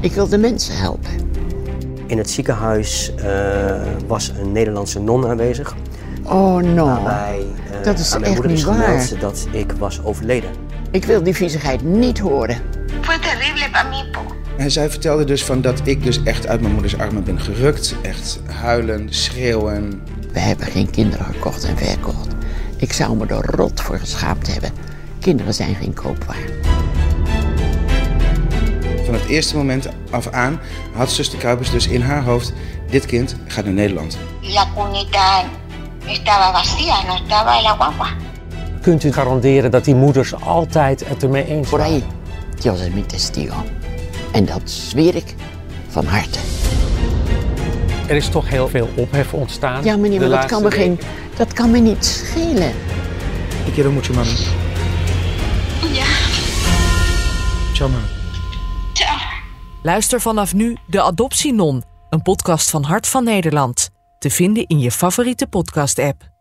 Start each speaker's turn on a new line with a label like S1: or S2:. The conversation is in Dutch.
S1: Ik wil de mensen helpen.
S2: In het ziekenhuis eh, was een Nederlandse non aanwezig.
S1: Oh no,
S2: Bij, eh,
S1: Dat is
S2: aan mijn
S1: echt
S2: moeder is
S1: niet waar.
S2: gemeld dat ik was overleden.
S1: ik wil die viezigheid niet horen.
S3: Fue terrible para mí. po.
S4: En zij vertelde dus van dat ik dus echt uit mijn moeders armen ben gerukt. Echt huilen, schreeuwen.
S1: We hebben geen kinderen gekocht en verkocht. Ik zou me er rot voor geschaamd hebben. Kinderen zijn geen koopwaar.
S4: Van het eerste moment af aan had zuster Kuipers dus in haar hoofd... dit kind gaat naar Nederland.
S3: Y la cunita estaba vacía, no estaba la guagua.
S5: Kunt u garanderen dat die moeders altijd het ermee eens
S1: Por
S5: zijn?
S1: ahí, Dios es mi testigo. En dat zweer ik van harte.
S5: Er is toch heel veel ophef ontstaan.
S1: Ja, meneer,
S5: de
S1: maar dat kan, me
S5: laatste
S1: geen, dat kan me niet schelen.
S6: Te quiero mucho, mami. Chao, mami.
S7: Luister vanaf nu De Adoptienon, een podcast van Hart van Nederland. Te vinden in je favoriete podcast-app.